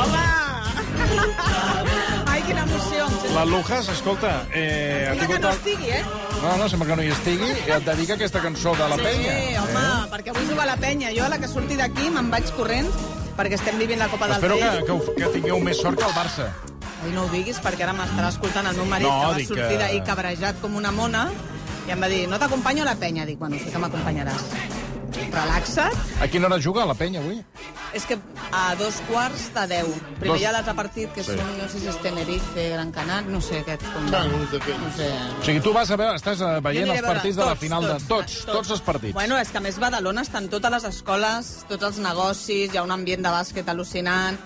Hola! Ai, quina emoció. em sento- La Lujas, escolta, eh, ha Mira que tingut... no el- estigui, eh? No, no, sembla que no hi estigui. I et dedica aquesta cançó de la penya. Sí, home, Eh? perquè avui juga la penya. Jo, a la que surti d'aquí, me'n vaig corrents, perquè estem vivint la Copa del Espero Rei. que, que, ho- que tingueu més sort que el Barça. Ai, no ho diguis, perquè ara m'estarà escoltant el meu marit, No, que va dic sortir que- d'ahir cabrejat com una mona, i em va dir, no t'acompanyo a la penya. Dic, bueno, sí que m'acompanyaràs. Relaxa't. A quina hora juga la penya, avui? És que a dos quarts de deu. Primer Dos- hi ha l'altre partit, que és Sí. un, no sé si és Tenerife, Gran Canal, no sé aquest. Com... Ah, uns d'aquells. No sé. O sigui, tu vas a veure, estàs eh, Jo veient aniré els a veure partits de la final de... Tots, tots els partits. Bueno, és que a més Badalona estan totes les escoles, tots els negocis, hi ha un ambient de bàsquet al·lucinant.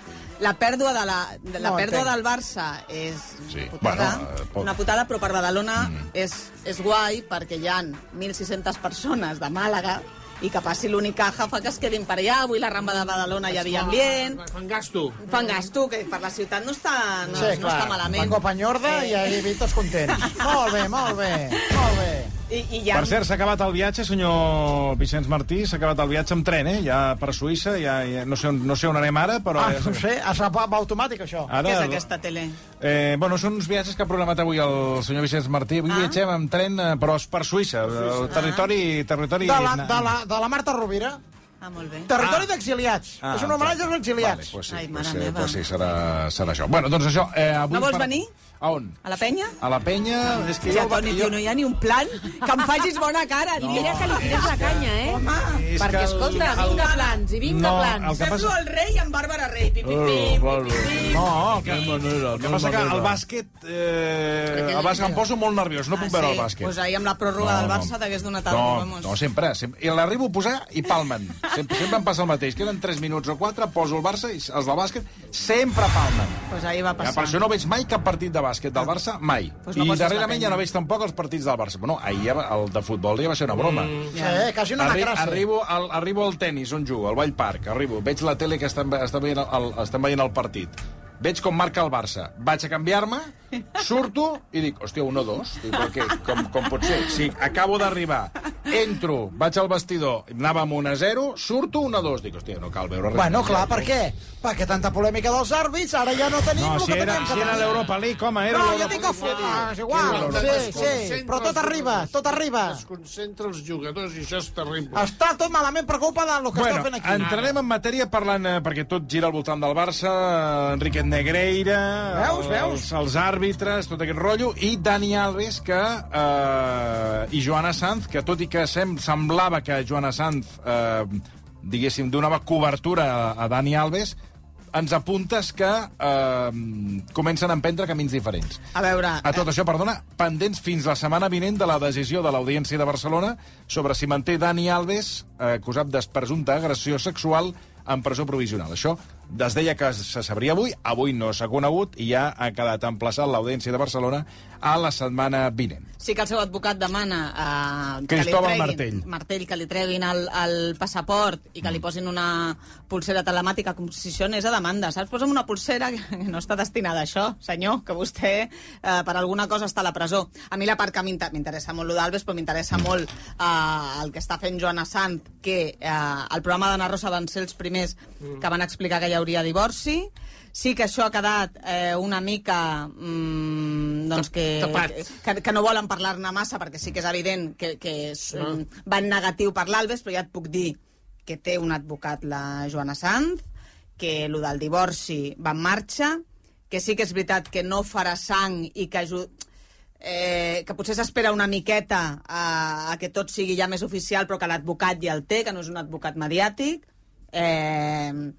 La pèrdua, de la, de la No, pèrdua entenc. del Barça és sí. Sí. putada, Bueno, eh, Mm. bueno, pot- una putada, però per Badalona és, és guai perquè hi han 1.600 persones de Màlaga i que passi l'Unicaja fa que es quedin per allà. Avui la Rambla de Badalona hi havia ambient. Fan gasto. Fan gasto, que per la ciutat no està, no, Sí, no clar. està malament. La Copa Enyorda i ahir vi tots contents. molt bé, molt bé, molt bé. I, i hi ha... Per cert, s'ha acabat el viatge, senyor Vicenç Martí, s'ha acabat el viatge amb tren, eh? Ja per Suïssa, ja, ja no, sé on, no sé on anem ara, però... Ah, ja no ho s'ha- sé, es va va automàtic, això. Ara, Què és aquesta tele? Eh, bueno, són uns viatges que ha programat avui el senyor Vicenç Martí. Avui ah. viatgem amb tren, eh, però és per Suïssa, el territori... territori De la, de, la, de la Marta Rovira. Ah, molt bé. Territori d'exiliats. Ah, és un homenatge als Vale, exiliats. pues sí, Ai, pues, mare eh, meva. pues sí, serà, serà això. Bueno, doncs això... Eh, avui No vols venir? A on? A la penya? A la penya... És que Ja, jo- Toni, tio, no hi ha ni un plan que em facis bona cara. No. Mira que li tens la canya, eh? Home, És Perquè, que el- escolta, vinga plans, i vinga No, plans. que semblo passa- el rei amb Bàrbara Rei. Pim, pim, Oh, pim, vale. pim, pim, pim. No, que, el que passa que el bàsquet, eh, el bàsquet em poso molt nerviós, no puc veure el bàsquet. Pues Ah, Doncs ahir amb la pròrroga del Barça t'hagués donat no, alguna cosa. No, sempre. sempre. I l'arribo a posar i palmen. Sempre, sempre em passa el mateix. Queden 3 minuts o 4, poso el Barça i els del bàsquet sempre palmen. Pues Doncs ahir va Ja, per passar. això no veig mai cap partit de bàsquet del Barça, mai. Pues no I poses la darrerament penya. ja no veig tampoc els partits del Barça. Bueno, ahir ja va- el de futbol ja va ser una broma. Mm. Sí, quasi una Arri macrassa. arribo, al, arribo al tennis on jugo, al Vall Parc, arribo, veig la tele que estan, ve- estan, veient, el, el- estan veient el partit. Veig com marca el Barça. Vaig a canviar-me, surto i dic, hòstia, 1-2. Dic, però què? Com, com pot ser? Si acabo d'arribar, entro, vaig al vestidor, anàvem 1-0, surto 1-2. Dic, hòstia, no cal veure res. Bueno, més. clar, per què? Perquè tanta polèmica dels àrbits, ara ja no tenim No, el si que era, teníem. si era l'Europa League, home, era No, jo l'Europa dic el futbol. Ah, és igual, Què sí, diu? sí, però tot arriba, tot arriba. Es concentra els jugadors i això és terrible. Està tot malament per culpa del que Bueno, està fent aquí. entrarem en matèria parlant, eh, perquè tot gira al voltant del Barça, eh, Enriquet Negreira, Veus, Els, veus? els àrbitres, tot aquest rotllo, i Dani Alves que, eh, i Joana Sanz, que tot i que sem semblava que Joana Sanz, eh, diguéssim, donava cobertura a, a Dani Alves, ens apuntes que eh, comencen a emprendre camins diferents. A veure, A tot això, perdona, pendents fins la setmana vinent de la decisió de l'Audiència de Barcelona sobre si manté Dani Alves, eh, acusat de presumpta agressió sexual, en presó provisional. Això es deia que se sabria avui, avui no s'ha conegut i ja ha quedat emplaçat l'Audiència de Barcelona a la setmana vinent. sí que el seu advocat demana eh, Cristóbal que li Martell. treguin, Martell, que li treguin el, el passaport i que li posin una pulsera telemàtica com si això anés a demanda, saps? Posa'm una pulsera que no està destinada a això, senyor, que vostè eh, per alguna cosa està a la presó. A mi la part que m'inter- m'interessa molt lo d'Alves, però m'interessa molt eh, el que està fent Joana Sant, que eh, el programa d'Anna Rosa van ser els primers que van explicar que hi hauria divorci, Sí que això ha quedat eh, una mica... Mm, doncs que, Tapat. que, que no volen parlar-ne massa, perquè sí que és evident que, que és, mm, va en negatiu per l'Alves, però ja et puc dir que té un advocat la Joana Sanz, que el del divorci va en marxa, que sí que és veritat que no farà sang i que ajud... Eh, que potser s'espera una miqueta a, a que tot sigui ja més oficial, però que l'advocat ja el té, que no és un advocat mediàtic. Eh,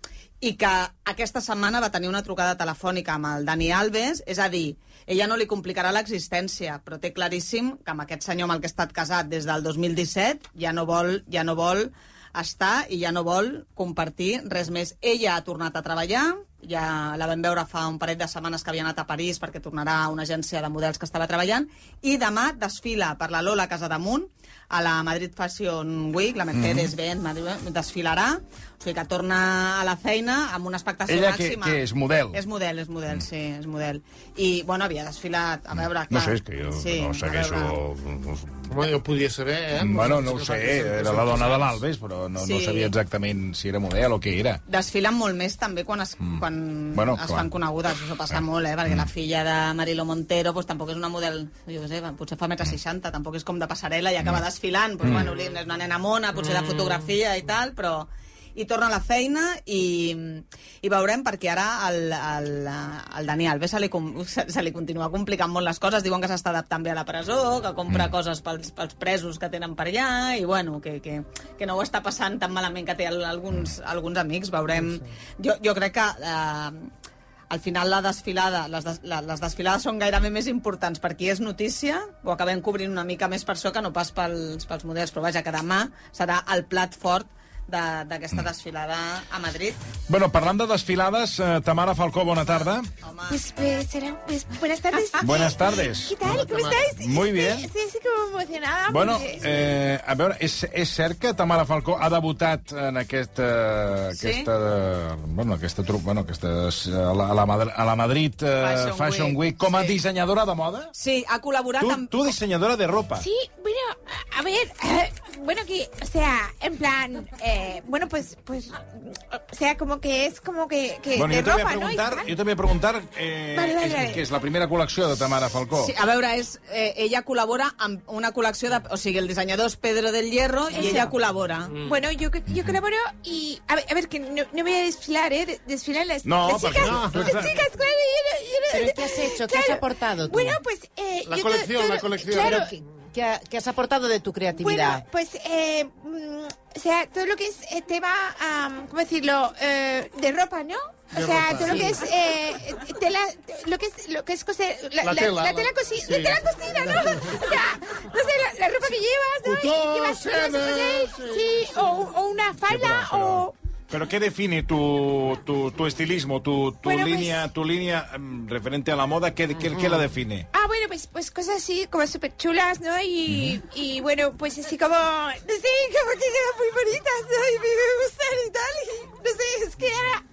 i que aquesta setmana va tenir una trucada telefònica amb el Dani Alves, és a dir, ella no li complicarà l'existència, però té claríssim que amb aquest senyor amb el que ha estat casat des del 2017 ja no vol, ja no vol estar i ja no vol compartir res més. Ella ha tornat a treballar, ja la vam veure fa un parell de setmanes que havia anat a París perquè tornarà a una agència de models que estava treballant, i demà desfila per la Lola Casadamunt a la Madrid Fashion Week, la Mercedes-Benz Madrid- desfilarà, o sigui que torna a la feina amb una expectació Ella que, màxima. que és model. És model, és model, sí, és model. I, bueno, havia desfilat, a veure, clar... No sé, és que jo no a segueixo... veure. Home, jo podia saber, eh? Mm, Bueno, no ho sé, era la dona de l'Albes, però no, no Sí. sabia exactament si era model o què era. Desfilen molt més també quan es, quan Bueno, es clar. fan conegudes, això passa molt, eh? perquè la filla de Marilo Montero pues, tampoc és una model, jo què sé, potser fa 1,60 m, tampoc és com de passarel·la i acaba desfilant, però bueno, li- és una nena mona, potser de fotografia i tal, però i torna a la feina i, i veurem perquè ara el, el, el Dani Alves se li, com- se, se li continua complicant molt les coses, diuen que s'està adaptant bé a la presó, que compra coses pels, pels presos que tenen per allà i bueno, que, que, que no ho està passant tan malament que té al- alguns, alguns amics, veurem jo, jo crec que eh, al final la desfilada, les, des, la, les desfilades són gairebé més importants per qui és notícia, ho acabem cobrint una mica més per això que no pas pels, pels models, però vaja, que demà serà el plat fort de- d'aquesta Mm. desfilada a Madrid. Bueno, parlant de desfilades, eh, Tamara Falcó, bona tarda. Home, Pues, pues, será- pues, buenas tardes. Buenas tardes. ¿Qué tal? ¿Cómo estáis? Muy bien. Estoy, estoy así como emocionada. Bueno, porque- eh, a veure, és, és cert que Tamara Falcó ha debutat en aquest, eh, Sí? aquesta, bueno, aquesta, tru- bueno, aquesta, eh, a, la, a, la, Madri- a la Madrid eh, Fashion Fashion, Fashion Week, Week, com a sí. dissenyadora de moda? Sí, ha col·laborat Tu, amb... tu dissenyadora de ropa. Sí, bueno, a, a ver, eh, bueno, que, o sea, en plan, eh, bueno, pues, pues, o sea, como que es como que, que Bueno, de jo te voy a ropa, ¿no? Y preguntar, tal. jo te voy a preguntar eh, Vale, vale, és, vale. que és la primera col·lecció de Tamara Falcó. Sí, a veure, és, eh, ella col·labora amb una col·lecció de... O sigui, el dissenyador és Pedro del Hierro i Eso. ella col·labora. Bueno, yo, yo colaboro y, a ver, a ver, que no, no voy a desfilar, ¿eh? De- Desfilar las, No, las porque chicas, no. las chicas, claro, yo no- yo no- ¿Pero qué has hecho? ¿Qué has aportado tú? Bueno, pues... Eh, La yo to- colección, todo- la colección. Claro, Pero ¿Qué, qué ha- qué has aportado de tu creatividad? Bueno, pues, eh, mm, o sea, todo lo que es eh, tema, am, ¿cómo decirlo? Eh, de ropa, ¿no? O sea, todo lo que es eh, tela, lo que es lo que es coser, la, La tela, la- cosi- sí. la tela cosida, ¿no? O sea, no sé, la, la ropa que llevas, ¿no? Y Cutó, llevas- llevas un senes, corsé, sí, o, o una falda, o Pero ¿qué define tu, tu, tu estilismo, tu, tu Bueno, pues- línea, tu línea mm, referente a la moda? ¿Qué, qué, qué la define? Ah, bueno, pues, pues cosas así como súper chulas, ¿no? Y, y bueno, pues así como, no sé, como que quedan muy bonitas, ¿no? Y me, me gustan y tal. Y, no sé, es que ahora,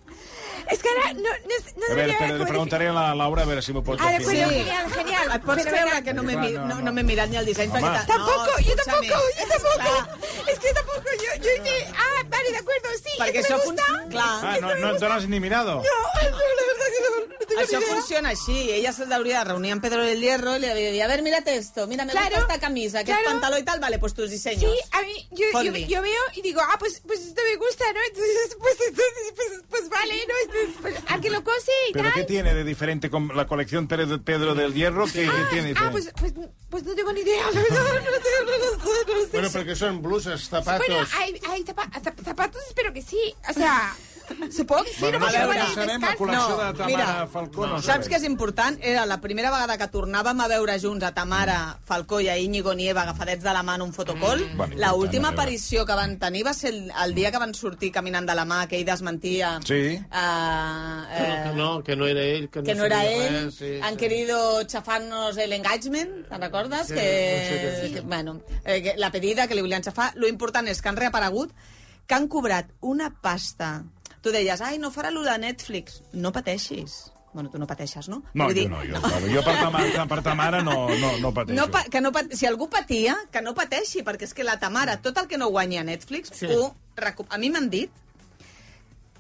es que ahora no, no, sé- no A ver, sabría te, le cómo preguntaré a la Laura a ver si me puedo definir. Ah, de definir. acuerdo, genial, genial. Et pots fenomenal. creure que no m'he Clar, mi- no, no, no. no m'he mirat ni el disseny? Home. Perquè ta- Tampoco, no, yo escúchame. tampoco, yo tampoco. Clar. Es que tampoco, yo, yo dije, ah, vale, de acuerdo, sí, Perquè esto això me gusta. funciona... Clar, Ah, no, no, no has ni mirado. No, no, la verdad que no, no tengo això ni idea. funciona així. Ella se'l hauria de reunir amb Pedro del Hierro i li hauria de dir, a ver, mírate esto, mira, me Claro, gusta esta camisa, aquest claro. pantaló y tal, vale, pues tus diseños. Sí, a mí, yo, yo, Ponle. yo veo y digo, ah, pues, pues esto me gusta, ¿no? Entonces, pues, entonces, pues, pues vale, ¿no? Entonces, pues, a que lo cose y ¿Pero qué tal. tiene de diferente con la colección Pérez de Pedro del Hierro? ¿Qué, qué tiene Ah, diferente? pues, pues, pues no tengo ni idea, la verdad, no, tengo, no, lo sé, no lo sé. Bueno, perquè són bluses, zapatos... Bueno, ah, hay, hay zapa- zap- zapatos, espero que sí, o sea, supongo que sí, Bueno, no no, me sé, igual no ahí sabemos descalzo. cuál- col·lecció de Tamara Falcó, no Saps sabem. què és important? Era la primera vegada que tornàvem a veure junts a Tamara Falcó i a Íñigo Nieva agafadets de la mà en un fotocol. Mm. Bueno, La última important, a veure. aparició que van tenir va ser el, el dia que van sortir caminant de la mà, que ell desmentia... Sí. eh, eh, Que no, que no era ell, que no, que no era sabia él, res, sí, han sí. querido chafarnos el engagement, ¿te'n recordes? Sí, que, sí, sí. que, bueno, eh, que la pedida que li volien xafar. Lo important és que han reaparegut, que han cobrat una pasta. Tu deies, ai, no farà lo de Netflix. No pateixis. Bueno, tu no pateixes, no? No, Vull jo dir, no, jo, jo per ta mare, per ta mare no, no, no pateixo. no pa, que no pat, si algú patia, que no pateixi, perquè és que la Tamara, tot el que no guanya a Netflix, sí. ho, recu- a mi m'han dit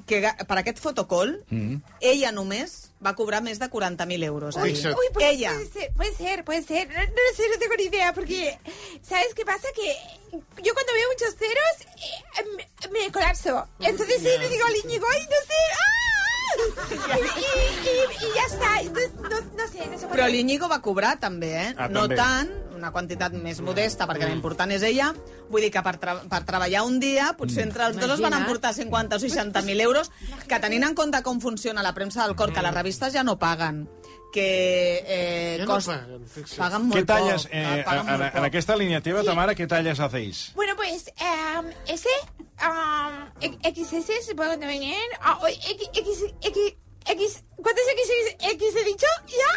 que ga- per aquest fotocol, mm. ella només va cobrar més de 40.000 euros. Uy, Fixa't. uy, pues Ella. Puede ser, puede ser, puede ser. No, no lo sé, no tengo ni idea, porque ¿sabes qué pasa? Que yo cuando veo muchos ceros eh, me, me colapso. Entonces sí, le digo al Íñigo, ¡ay, no sé! ¡ah! Y, y- y- y ya está. Entonces, no, no sé, Però no sé cuánto- l'Iñigo va cobrar, també, eh? Ah, no també. Mm. tant, una quantitat més modesta, perquè l'important és ella. Vull dir que per, tra per treballar un dia, Mm. potser entre els dos es van Imagina't. emportar 50 o 60.000 euros, que tenint en compte com funciona la premsa del cor, que Mm. les revistes ja no paguen, que eh, Ja no cost... paguen, fixa't. paguen molt Què talles, poc. Ah, Ah, eh, paguen en, molt en poc. aquesta línia teva, Tamara, què talles hacéis? Bueno, pues em, e, ese, em, X- XS supongo también, ah, o X- X- X- X, ¿Cuántos X, X he dicho? ¿Ya?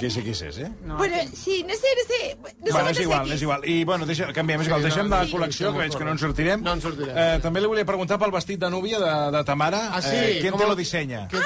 Què No sé, XXS, no sé. és, què és, eh? No, bueno, sí, no sé, no sé. No sé bueno, és quantos igual, X. és igual. I, bueno, deixa, canviem, és igual. Sí, no, Deixem de sí, col·lecció, sí, que veig que no en sortirem. No en sortirem. Eh, també li volia preguntar pel vestit de núvia de, de ta mare. Ah, sí? Eh, ¿Quién Com te el- lo dissenya? Que...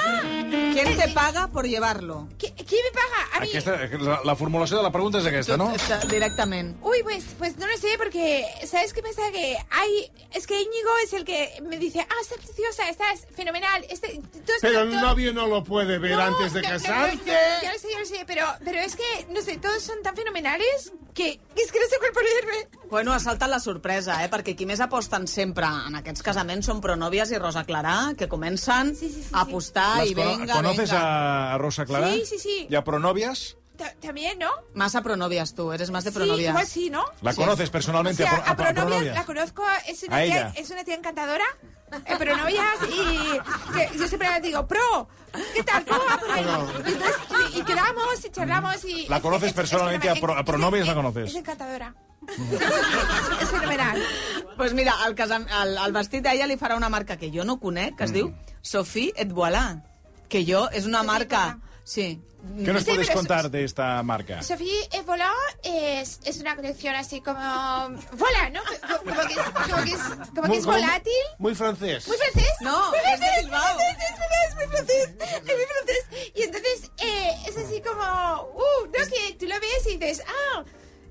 ¿Quién te paga por llevarlo? ¿Qui- ¿Quién me paga? A mí. Aquesta, la, la formulació de la pregunta és aquesta, Ah, no? Está- Directamente. Uy, pues, pues no lo sé, porque ¿sabes qué pasa? Que hay. Es que Íñigo es el que me dice, ah, estás preciosa, estás fenomenal. Este, tú estás- Pero el todo- novio no lo puede ver No, antes de no, no, no, casarse. no, ya lo sé, ya lo sé, pero, pero es que, no sé, todos son tan fenomenales que, que es que no sé cuál ponerme. Bueno, ha saltat la sorpresa, eh? Perquè qui més aposten sempre en aquests casaments són Pronòvies i Rosa Clarà, que comencen Sí, sí, sí, a sí. apostar Las i cono- venga, ¿Conoces venga. a a Rosa Clara? Sí, sí, sí. ¿Y a Pronovias? Ta- También, ¿no? Massa Pronovias, tu, eres más de Sí, Pronovias. igual sí, ¿no? ¿La Sí. conoces O personalmente? sea, ah, Pro- a Pronovias Pronovias? la conozco, es una, A tía, ella. es una tía encantadora. eh, Pronovias y que yo siempre les digo, pro, ¿qué tal? ¿Cómo va por ahí? Y, entonces, y- y quedamos y charlamos y... Mm. ¿La es- conoces es- es personalmente a Pro- a fenomenal. Pronovias Es- la conoces? Es encantadora. es fenomenal. pues mira, el, casam... el, el vestit d'ella li farà una marca que jo no conec, Mm. que es diu Sophie et voilà, que jo és una Sophie marca... Voilà. Sí. ¿Qué nos Sí, puedes pero es- contar de esta marca? Sofía Evola es, es una colección así como... Vola, ¿no? Como que es, como que es, como que es volátil. Muy francés. Muy francés. No, muy es de francés. Bilbao. Es muy francés, muy francés, muy francés. Y entonces eh, es así como, uh, no sé, tú lo ves y dices, ah,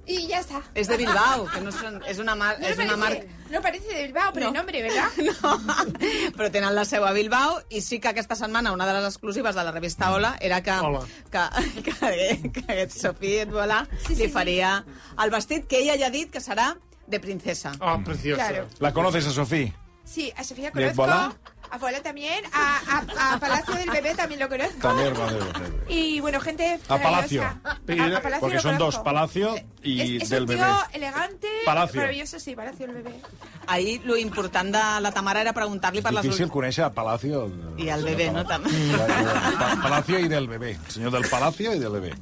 y ya está. És de Bilbao, que no són... és una, mar... No és parece, una marca... no parece de Bilbao, No. pero el nombre, ¿verdad? No, però tenen la seu a Bilbao i sí que aquesta setmana una de les exclusives de la revista Hola era que, Hola. que, que, que aquest Sofí et volà Sí, sí, li sí. faria el vestit que ella ja ha dit que serà de princesa. Oh. Ah, preciosa. Claro. ¿La conoces a Sofía? Sí, a Sofía ¿Y el conozco. Vola? A Vola también. A, a- a Palacio del Bebé también lo conozco. También lo conozco. Y bueno, gente. A Palacio. maravillosa. Pero A- a Palacio Porque lo son dos, conozco. Palacio Es- y es, del un tío bebé. elegante, Palacio. maravilloso, sí, Palacio del Bebé. Ahir lo important de la Tamara era preguntar-li per les... Difícil conèixer a Palacio... I al bebé, no? També. Pa- Palacio i del bebé. Senyor del Palacio i del bebé.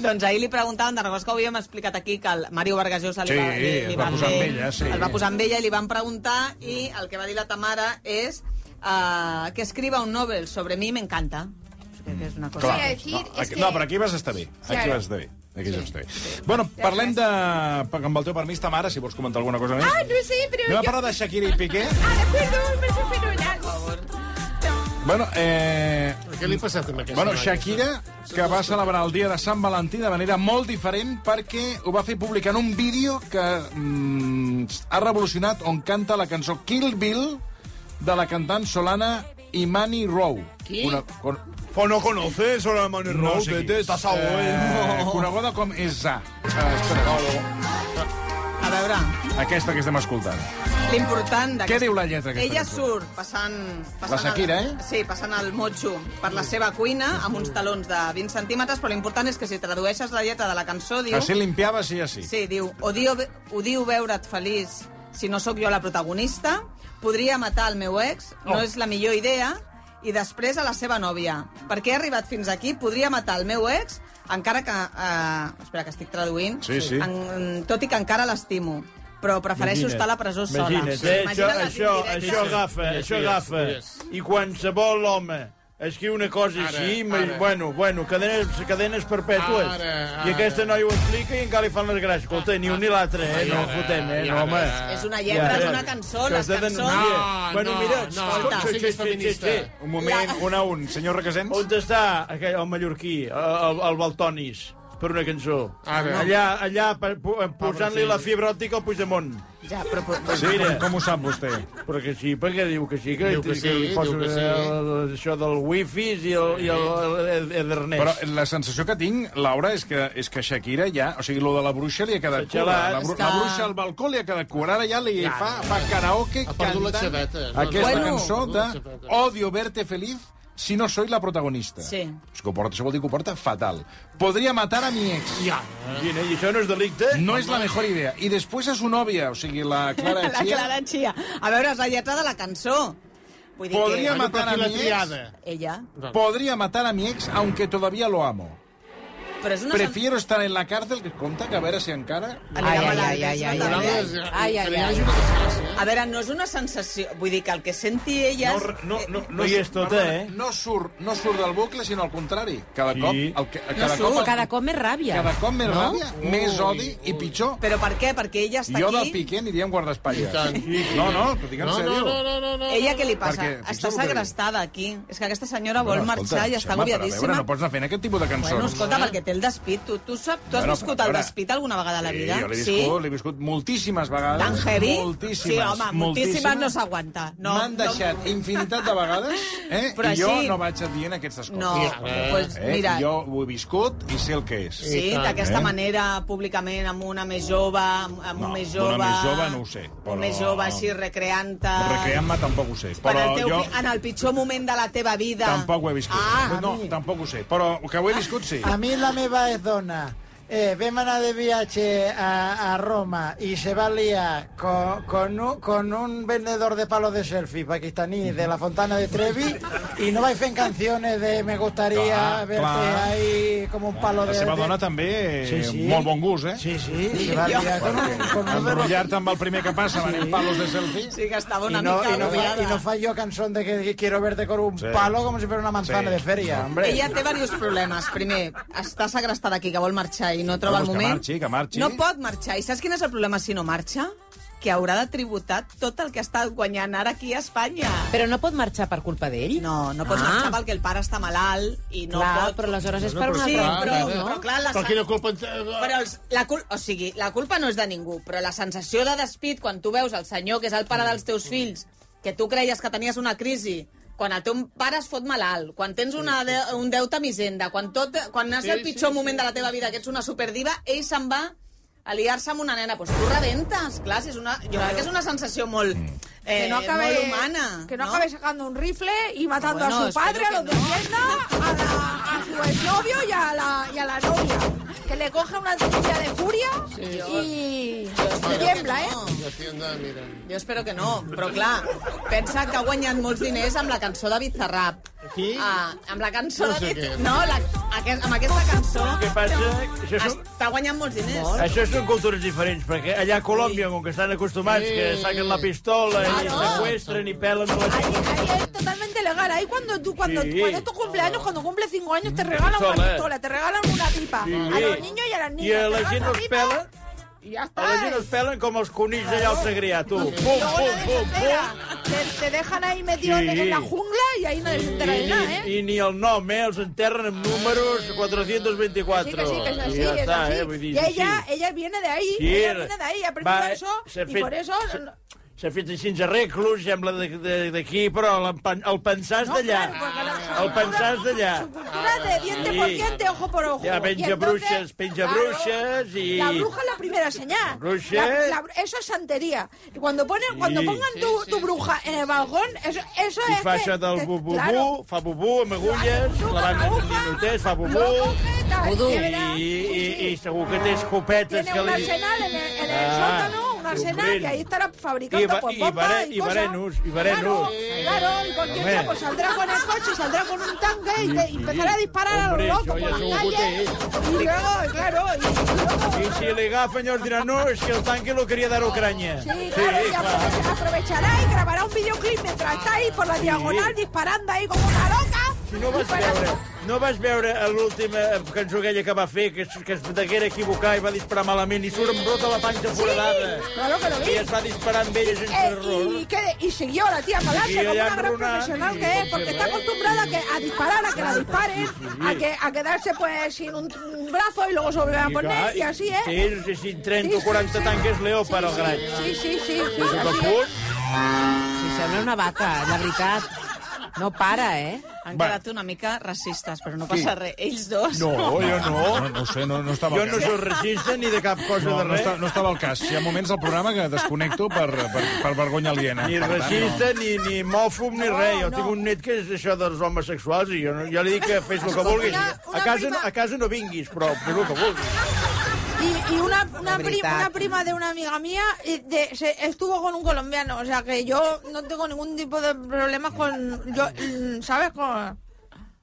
Doncs ahir li preguntaven, de records que ho havíem explicat aquí, que el Mario Vargas Llosa li Sí, va, li, li el va van posar fer- amb ella, sí. El va posar amb ella i li van preguntar i el que va dir la Tamara és uh, que escriba un novel sobre mi m'encanta. Que és una cosa... Clar. Sí, no, és aquí, que- no, però aquí vas estar bé. Aquí Claro. vas estar bé. Aquí vas estar bé. Bueno, parlem de... Amb el teu permís, ta mare, si vols comentar alguna cosa més. Ah, no sé, pero. Anem a yo- parlar de Shakira i Piqué. Ah, de acuerdo, me parece fenomenal. Bueno, eh... Què li ha passat amb aquesta Bueno, noia? Shakira, que va celebrar el dia de Sant Valentí de manera molt diferent perquè ho va fer publicant un vídeo que mm, ha revolucionat on canta la cançó Kill Bill de la cantant solana Imani Rowe. Qui? Una, con, Pues no conoces a la Manny no Rose, sé qui. vete, estás a Eh, huevo. coneguda com Esa. Eh, espera, A veure, aquesta que estem escoltant. l'important... d'aquest- Què diu la lletra d'aquesta Ella cançó? surt passant... passant La Shakira, el, eh? Sí, passant el motxo per la seva cuina amb uns talons de 20 centímetres, però l'important és que si tradueixes la lletra de la cançó diu... Així limpiava, sí, així. Sí, diu, odio, ve- odio veure't feliç si no sóc jo la protagonista, podria matar el meu ex, no Oh. és la millor idea, i després a la seva nòvia. Perquè he arribat fins aquí, podria matar el meu ex, encara que... Eh, espera, que estic traduint. Sí, sí. En, tot i que encara l'estimo. Però prefereixo estar a la presó sola. Imagina't, eh, això, Imagina't les això, indirectes. això agafa, Yes, això yes, agafa. yes. I qualsevol home escriu una cosa Ara, així, ara. ma- bueno, bueno, cadenes, cadenes perpètues. Ara, I ara. aquesta noia ho explica i encara li fan les gràcies. Escolta, ni un ni l'altre, eh? No Ara, fotem, eh? No, ara. home. És una lletra Ja, d'una ja. cançó, Que les has de cançons... denunciar. No, Bueno, no, mira, no, escolta, no sí, siguis sí, sí, feminista. sí. Un moment, un a un. Senyor Requesens? On està aquell, el mallorquí, el, el Baltonis, per una cançó? Ara. Allà, allà pa- pu- posant-li la fibra òptica al Puigdemont. Ja, però, però, Sí, com, Mira. com ho sap vostè? Eh. Però que sí, perquè diu que sí, que, Diu que sí, li poso diu que sí. el- això del wifi i el, i el, el Edernet. Però la sensació que tinc, Laura, és que, és que Shakira ja... O sigui, lo de la bruixa li ha quedat S'ha cura. gelat. La, bru Està- la bruixa al balcó li ha quedat cura. Ara ja li fa, fa karaoke Ha perdut la cantant xaveta. No, aquesta Bueno. cançó Ha perdut la de xaveta. Odio verte feliz si no soy la protagonista. Sí. És que ho porta, això vol dir que ho porta fatal. Podria matar a mi ex. Ja. Quina, I això no és delicte? No és la mejor idea. I després a su nòvia, o sigui, la Clara la Chia, Clara Chia. A veure, és la lletra de la cançó. Vull dir Podria Bueno, però matar a aquí la mi ex. triada. que... Ella. Podría matar a mi ex, aunque todavía lo amo. Però és una... Prefiero estar en la cárcel que conta que a veure si encara... Anirà Ai, ai, malament, ai, ai, no ai, tan ai, bé. ai. Nosaltres, eh, Ai, ai, que li ai. hagi una desgràcia. A veure, no és una sensació... Vull dir que el que senti ella... No, no, no, no hi és tota, Perdona, eh? No surt, no surt del bucle, sinó al contrari. Cada Sí. cop... El, que- cada, surt, cop, Cada cop més ràbia. cada cop més ràbia, més odi i pitjor. Però per què? Perquè ella està Jo del aquí... Piqué aniria amb guardaespatlles. I tant. No, no, però digue'm No, no, seriós. no, no, no, no. Ella què li passa? Perquè, fixa't està el que diu. segrestada aquí. És que aquesta senyora Bueno, vol escolta, marxar i està Xema, però a agobiadíssima. Veure, no pots anar fent aquest tipus de cançons. Bueno, escolta, perquè té el despit. Tu, tu, sap, tu has Bueno, viscut però, el a veure, despit alguna vegada a la vida? Sí, jo l'he viscut, l'he viscut moltíssimes vegades. Tan heavy? Moltíssimes. Sí, home, moltíssimes no s'aguanta. No, M'han no- deixat infinitat de vegades eh? Però i jo així- no vaig dient aquestes coses. No, pues, Eh? mira, Jo ho he viscut i sé el que és. sí, I tant, d'aquesta eh? manera, públicament, amb una més jove, amb amb un No, més d'una jove... més jove no ho sé, però- Un més jove, així, recreant-te... Recreant-me tampoc ho sé. Per Però el teu, jo pi- En el pitjor moment de la teva vida. tampoc ho he viscut. Ah, no, tampoc ho sé. Però el que ho he viscut sí. A mi la meva és dona. Eh, vam anar de viatge a, a Roma i se va liar con, con, un, con un vendedor de palos de selfie pakistaní de la Fontana de Trevi i no vaig fent canciones de me gustaría Clar, verte clar. ahí como un palo La de... seva dona de... també, Sí, sí. molt bon gust, eh? Sí, sí, se va liar con un, Ah, con un de los Enrotllar-te amb el primer que passa, venent palos de selfie. Sí que estava Y una no, mica... y, no fa, agobiada. y no fallo canción de que, que quiero verte con un Sí. palo como si fuera una manzana Sí. de feria, hombre. Ella té diversos problemes. Primer, està segrestada aquí, que vol marxar i no troba Vamos, el que moment. marxi, que marxi. No pot marxar. I saps quin és el problema si no marxa? Que haurà de tributar tot el que està guanyant ara aquí a Espanya. Però no pot marxar per culpa d'ell? No, no pots Ah. marxar perquè el pare està malalt i no Clar, pot... però aleshores és No, per però una Sí, clar, altra eh? però, raó, però no? clar, la Però quina culpa... en té? eh, Però els, la cul... o sigui, la culpa no és de ningú, però la sensació de despit quan tu veus el senyor que és el pare dels teus fills, que tu creies que tenies una crisi, quan el teu pare es fot malalt, quan tens una de... un deute amb Hisenda, quan, tot... quan has Sí, el sí, pitjor sí. moment de la teva vida, que ets una superdiva, ell se'n va a liar-se amb una nena. Doncs tu rebentes, clar, si és una... jo crec que és una sensació molt, Mm. eh, que no acabe, molt humana. que no, acabe sacando un rifle y matando Bueno, a su espero padre, a que los no. de Hacienda, a, la- a su exnovio y a, la, y a la novia. Que le coge una silla de furia y, y tiembla, ¿eh? No. I Hacienda, mira. Jo espero que no, però clar, pensa que ha guanyat molts diners amb la cançó de Bizarrap. Qui? Ah, amb la cançó No de sé Biz... què. No, la, aquest, amb aquesta cançó Què passa? Això són, està guanyant molts diners. això són cultures diferents, perquè allà a Colòmbia, com que estan acostumats, que saquen la pistola i Claro. seqüestren i pelen Ahí, la gent. ahí es totalmente legal. Ahí cuando tú, cuando, Sí. Mm. cuando es tu cumpleaños, cuando cumples cinco años, te regalan una Pistola. pistola, te regalan una pipa. A los niños y a las niñas. I a te la regalan gent una els pipa pela, Y ya a la está. gent els pelen com els conills allà al Segrià, tu. Pum, Y luego pum, nadie se pum, entera. pum. Te, te dejan ahí metido en- Sí. en la jungla y ahí nadie se entera I, de nada, ¿eh? Ah. ni, I ni el nom, eh? Els enterren amb números 424. Sí, que sí, que es I así, ja es està, así. eh? Vull dir, y sí. ella, ella viene de ahí, Sí, ella era- viene de ahí, aprendió va, eso s'ha y fet- por eso... s'ha- no, S'ha fet així arreglos, sembla de- de- d'aquí, però l'empan- el pensar és d'allà. claro, porque la- su El pensar és d'allà. Su cultura de diente Sí. por diente, ojo por ojo. Ja Y penja entonces, bruixes, penja claro, bruixes i... La bruja es la primera señal. Bruixes. La- la bru- eso es santería. Y Cuando, ponen, cuando pongan tu, tu bruja en el balcón, eso, eso I es. fa que- això del que- bu-bu-bu, claro. fa bu-bu amb agulles, Truca la van la en bruja, minutets, fa lo bu-bu, coge, tal, Vudú. y i, verá. i, Sí, sí. i segur que té escopetes Tiene que un li... arsenal en el, en el Ah, sótano, un arsenal, hombre. y ahí estará Y fabricando va- pues, y bombas vare- y, y cosas. varenos, y varenos. Claro, claro, y cualquier Hombre. día pues saldrá con el coche, saldrá con un tanque y, te- y sí. empezará a disparar Hombre, a los locos eso por ya las es un calles. Y luego, claro, y, y I luego... si li agafen, llavors diran, no, és que el tanque lo quería dar a Ucrania. Sí, claro, y aprove- aprovechará y grabará un videoclip mientras está ahí por la diagonal disparando ahí como una loca. Si no vas Disparando. veure, no vas veure l'última cançó aquella que va fer, que, es- que es deguera equivocar i va disparar malament i surt amb tota la panxa foradada. claro que lo vi. I es va disparar amb ella sense Eh, error. y, que- y siguió la tía Colarse Y como ella una gran Bruna, profesional y que es, se porque ve. está acostumbrada a, que, a disparar, a que la disparen, a, que, a quedarse pues sin un, un brazo y luego se vuelve a poner, y así es. Sí, sí, sí, 30 o eh? Sí, 40 sí, sí. tanques Leopard al graig. Sí, sí, sí, sí, I así tot es. punt, Sí, sembla una vaca, la veritat. No para, eh? Han Va. quedat una mica racistes, però no passa res. Ells dos... No, jo no. No, no ho sé, no, no estava jo al no cas. sóc racista ni de cap cosa No, de no, res. estava, no estava al cas. Hi ha moments del programa que desconnecto per, per, per vergonya aliena. Ni Per tant, racista, ni, ni mòfob, ni res. Jo no. tinc un net que és això dels homes sexuals i jo, no- jo li dic que fes el que vulguis. una- una A casa, prima- a casa no vinguis, però fes el que vulguis. Y, y una, una, pri- verdad. una prima de una amiga mía eh, de- se- estuvo con un colombiano, o sea que yo no tengo ningún tipo de problemas con, yo, mm, ¿sabes? Con,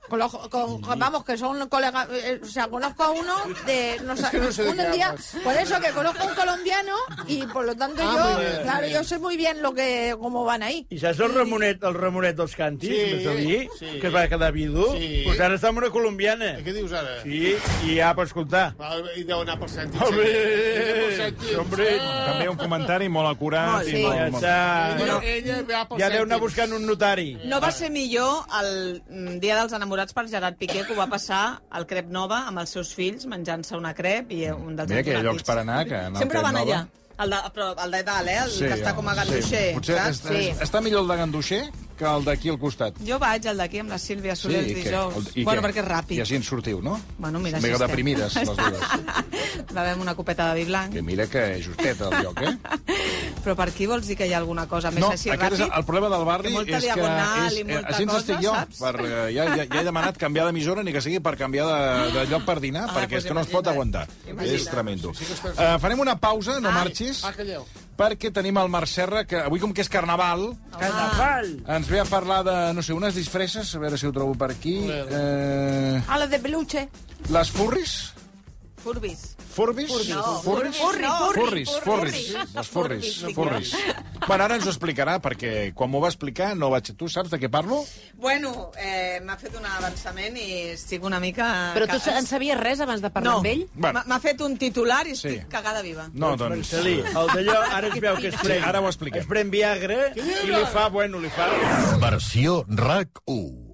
Con los- con- con- vamos, que son colegas. eh, o sea, conozco a uno de. No, sa- que no sé de un qué día, hablas. por eso que conozco a un colombiano y por lo tanto Ah, muy yo. bien, claro, muy yo sé muy bien lo que cómo van ahí. I saps el Ramonet, el Ramonet dels Cantis, Sí, sí, allí, sí. sí. que es va quedar vidu? Sí. Pues ara està amb una colombiana. Què dius ara? Sí, i ja, per escoltar. Va, I deu anar pels cèntims. Home, eh? hombre, També un comentari molt acurat. Molt, i sí. molt- ja molt- està. Ella, ella va pels Ja deu anar cèntims. buscant un notari. No va ser millor el mm, Dia dels Enamorats per Gerard Piqué, que ho va passar al Crep Nova amb els seus fills, menjant-se una crep i un dels Mira que hi ha enamorats. llocs per anar, que en el Sempre Crep van Nova- allà. El de, però el de dalt, eh? El sí, que està com a ganduixer. Sí. Potser saps? està, sí. està millor el de ganduixer que el d'aquí al costat. Jo vaig al d'aquí amb la Sílvia Soler sí, i què? dijous. El- i bueno, què? perquè és ràpid. I així en sortiu, no? Bueno, mira, Mega així estem. deprimides, les dues. Bevem una copeta de vi blanc. que mira que és justet el lloc, eh? Però per aquí vols dir que hi ha alguna cosa més no, així aquest ràpid? és el problema del barri Que molta és que diagonal és, eh, i molta així ens cosa, estic jo saps? per, eh, ja, ja, ja he demanat canviar d'emissora ni que sigui per canviar de, de lloc per dinar Ah, perquè doncs és que no es pot imagina't. aguantar és Imagina't. tremendo uh, farem una pausa, no marxis Ah, calleu. perquè tenim el Marc Serra que avui com que és carnaval Carnaval! ens ve a parlar de, no sé, unes disfresses a veure si ho trobo per aquí eh, A la de peluche. les furris Furbis. Furbis? No, Furris? furri, furri, Furris, furris, furri. les furris, Furris, furris. Bueno, ara ens ho explicarà, perquè quan m'ho va explicar no vaig... Tu saps de què parlo? Bueno, eh, m'ha fet un avançament i estic una mica... Però tu ca- en sabies res abans de parlar no. amb ell? Bueno. M'ha- M'ha fet un titular i estic Sí. cagada viva. No, Doncs, doncs... Marcelí, el d'allò ara es veu que es pren. ara ho expliquem. Es pren Viagra i li fa, bueno, li fa... Versió RAC 1.